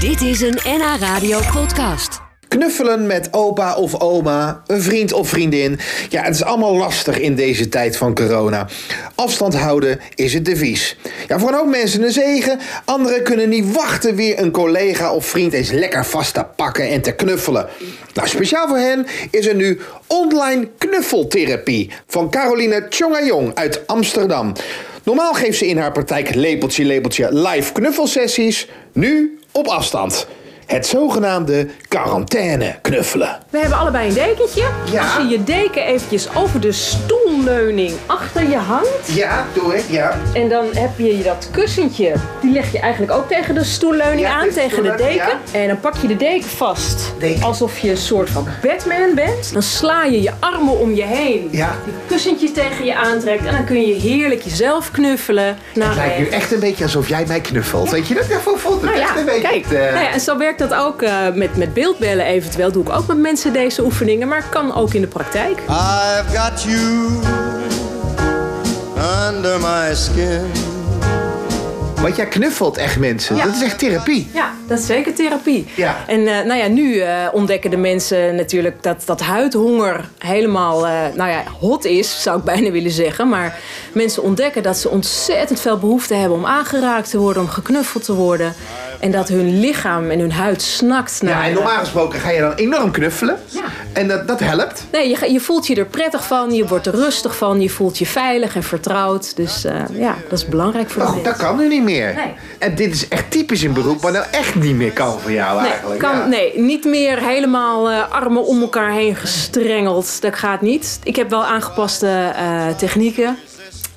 Dit is een NH Radio podcast. Knuffelen met opa of oma, een vriend of vriendin. Ja, het is allemaal lastig in deze tijd van corona. Afstand houden is het devies. Ja, voor een hoop mensen een zegen. Anderen kunnen niet wachten weer een collega of vriend eens lekker vast te pakken en te knuffelen. Nou, speciaal voor hen is er nu online knuffeltherapie van Caroline Tjongajong uit Amsterdam. Normaal geeft ze in haar praktijk lepeltje lepeltje live knuffelsessies. Nu op afstand. Het zogenaamde quarantaine knuffelen. We hebben allebei een dekentje. Ja. Als je je deken eventjes over de stoelleuning achter je hangt. Ja, doe ik, ja. En dan heb je dat kussentje. Die leg je eigenlijk ook tegen de stoelleuning Ja, aan, tegen de tegen de stoelleuning, deken. En dan pak je de deken vast. Deken. Alsof je een soort van Batman bent. Dan sla je je armen om je heen. Ja. Die kussentjes tegen je aantrekt. En dan kun je heerlijk jezelf knuffelen. Naar Het lijkt nu echt een beetje alsof jij mij knuffelt. Weet je dat? Ja, voor vond het Nou echt ja, een beetje... kijk. eh, Nou ja, en zo werkt dat ook eh, met, met beeldbellen eventueel. Doe ik ook met mensen deze oefeningen, maar kan ook in de praktijk. I've got you under my skin. Want jij knuffelt echt mensen. Ja. Dat is echt therapie. Ja, dat is zeker therapie. Ja. En eh, nou ja, nu eh, ontdekken de mensen natuurlijk dat, dat huidhonger helemaal eh, nou ja, hot is, zou ik bijna willen zeggen. Maar mensen ontdekken dat ze ontzettend veel behoefte hebben om aangeraakt te worden, om geknuffeld te worden. En dat hun lichaam en hun huid snakt naar. Ja, Nou, en normaal gesproken ga je dan enorm knuffelen. Ja. En dat, dat helpt. eh, Nee, je, ga- je voelt je er prettig van, je wordt er rustig van, je voelt je veilig en vertrouwd. Dus eh, ja, dat is belangrijk voor Maar de goed, dat mensen. kan nu niet meer. Nee. En dit is echt typisch een beroep waar nou echt niet meer kan voor jou Nee, eigenlijk. kan, ja. nee, niet meer helemaal eh, armen om elkaar heen gestrengeld. Dat gaat niet. Ik heb wel aangepaste eh, technieken.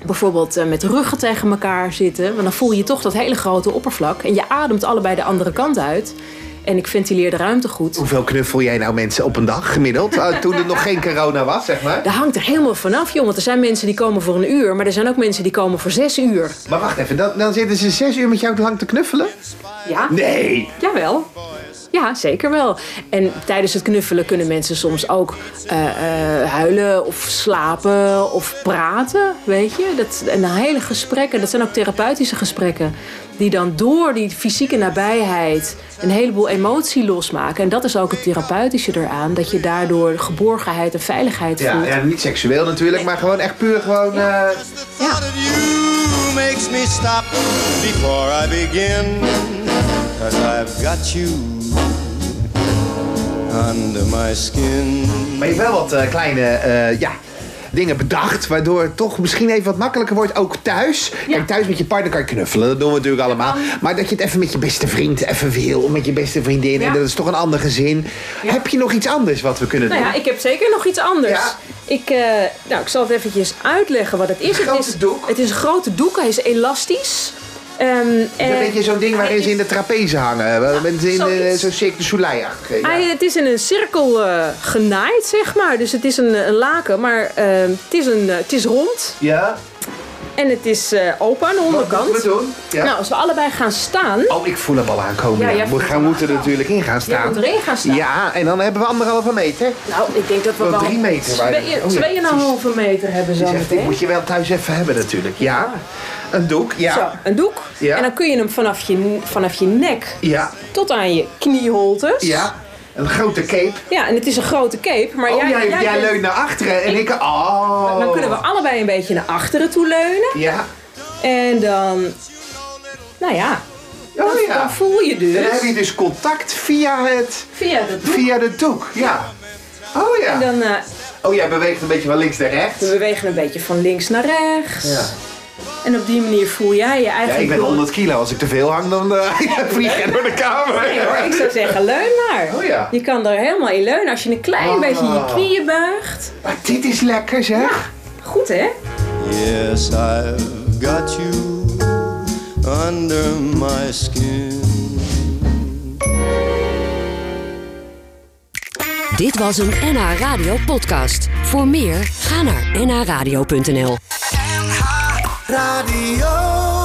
Bijvoorbeeld eh, met ruggen tegen elkaar zitten. Want dan voel je toch dat hele grote oppervlak. En je ademt allebei de andere kant uit. En ik ventileer de ruimte goed. Hoeveel knuffel jij nou mensen op een dag gemiddeld? Eh, toen er nog geen corona was, zeg maar. Dat hangt er helemaal vanaf, joh. Want er zijn mensen die komen voor een uur. Maar er zijn ook mensen die komen voor zes uur. Maar wacht even, dan, dan zitten ze zes uur met jou lang te knuffelen? Ja? Nee. Jawel. Ja, zeker wel. En tijdens het knuffelen kunnen mensen soms ook eh, eh, huilen of slapen of praten, weet je. Dat, en de hele gesprekken, dat zijn ook therapeutische gesprekken. Die dan door die fysieke nabijheid een heleboel emotie losmaken. En dat is ook het therapeutische eraan. Dat je daardoor geborgenheid en veiligheid Ja, voelt. ja, niet seksueel natuurlijk, maar gewoon echt puur gewoon... eh, The thought of you makes me stop before I begin. Cause I've got you under my skin. Maar je hebt wel wat eh, kleine eh, ja, dingen bedacht, waardoor het toch misschien even wat makkelijker wordt, ook thuis. Kijk, thuis met je partner kan je knuffelen, dat doen we natuurlijk allemaal. Maar dat je het even met je beste vriend even wil, of met je beste vriendin, en Ja. dat is toch een ander gezin. Heb je nog iets anders wat we kunnen doen? Nou ja, ik heb zeker nog iets anders. Ja. Ik, eh, nou, ik zal het eventjes uitleggen wat het is. grote het is, doek. Het is een grote doek, hij is elastisch. Ehm, Dat en- weet je, zo'n ding waarin hij ze in is- de trapeze hangen. Wel, mensen in eh, eh, zoiets. zo'n cirque de Soleil-achtige, ja. Hij, het is in een cirkel eh, genaaid, zeg maar. Dus het is een, eh, een laken, maar ehm, het, is een, eh, het is rond. Ja? En het is eh, open aan de onderkant. Wat moeten we doen? Ja. Nou, als we allebei gaan staan... Oh, ik voel hem al aankomen. Ja, Ja, jij We voelt gaan, hem moeten er aankomen. natuurlijk in gaan Jij staan. moet erin gaan staan. Ja, en dan hebben we anderhalve meter. Nou, ik denk dat we Wel wel... drie meter Twee, waren het. Oh ja, tweeënhalve meter hebben zo Die zegt, dit meteen. moet je wel thuis even hebben natuurlijk. Ja, een doek, ja. Zo, een doek. Ja. En dan kun je hem vanaf je, vanaf je nek Ja, tot aan je knieholtes. ja. Een grote cape. Ja, en het is een grote cape, maar Oh, jij, jij, jij, bent- leunt naar achteren en ik... Oh. Dan kunnen we allebei een beetje naar achteren toe leunen. Ja. En dan... Nou ja, dan, Oh ja. dan voel je Dan dus heb je dus contact via het... via de doek. Via de doek, ja. Oh ja. En dan eh, Oh, jij beweegt een beetje van links naar rechts. we bewegen een beetje van links naar rechts. Ja. En op die manier voel jij je Ja, eigenlijk... ik ben door- 100 kilo. Als ik te veel hang, dan eh, vlieg jij door de kamer. Nee hoor, ik zou zeggen leun maar. Oh ja. Je kan er helemaal in leunen als je een klein Ah. beetje je knieën buigt. Maar dit is lekker, zeg. Goed hè? Yes, I've got you under my skin. Dit was een NH Radio podcast. Voor meer, ga naar nhradio.nl. Radio.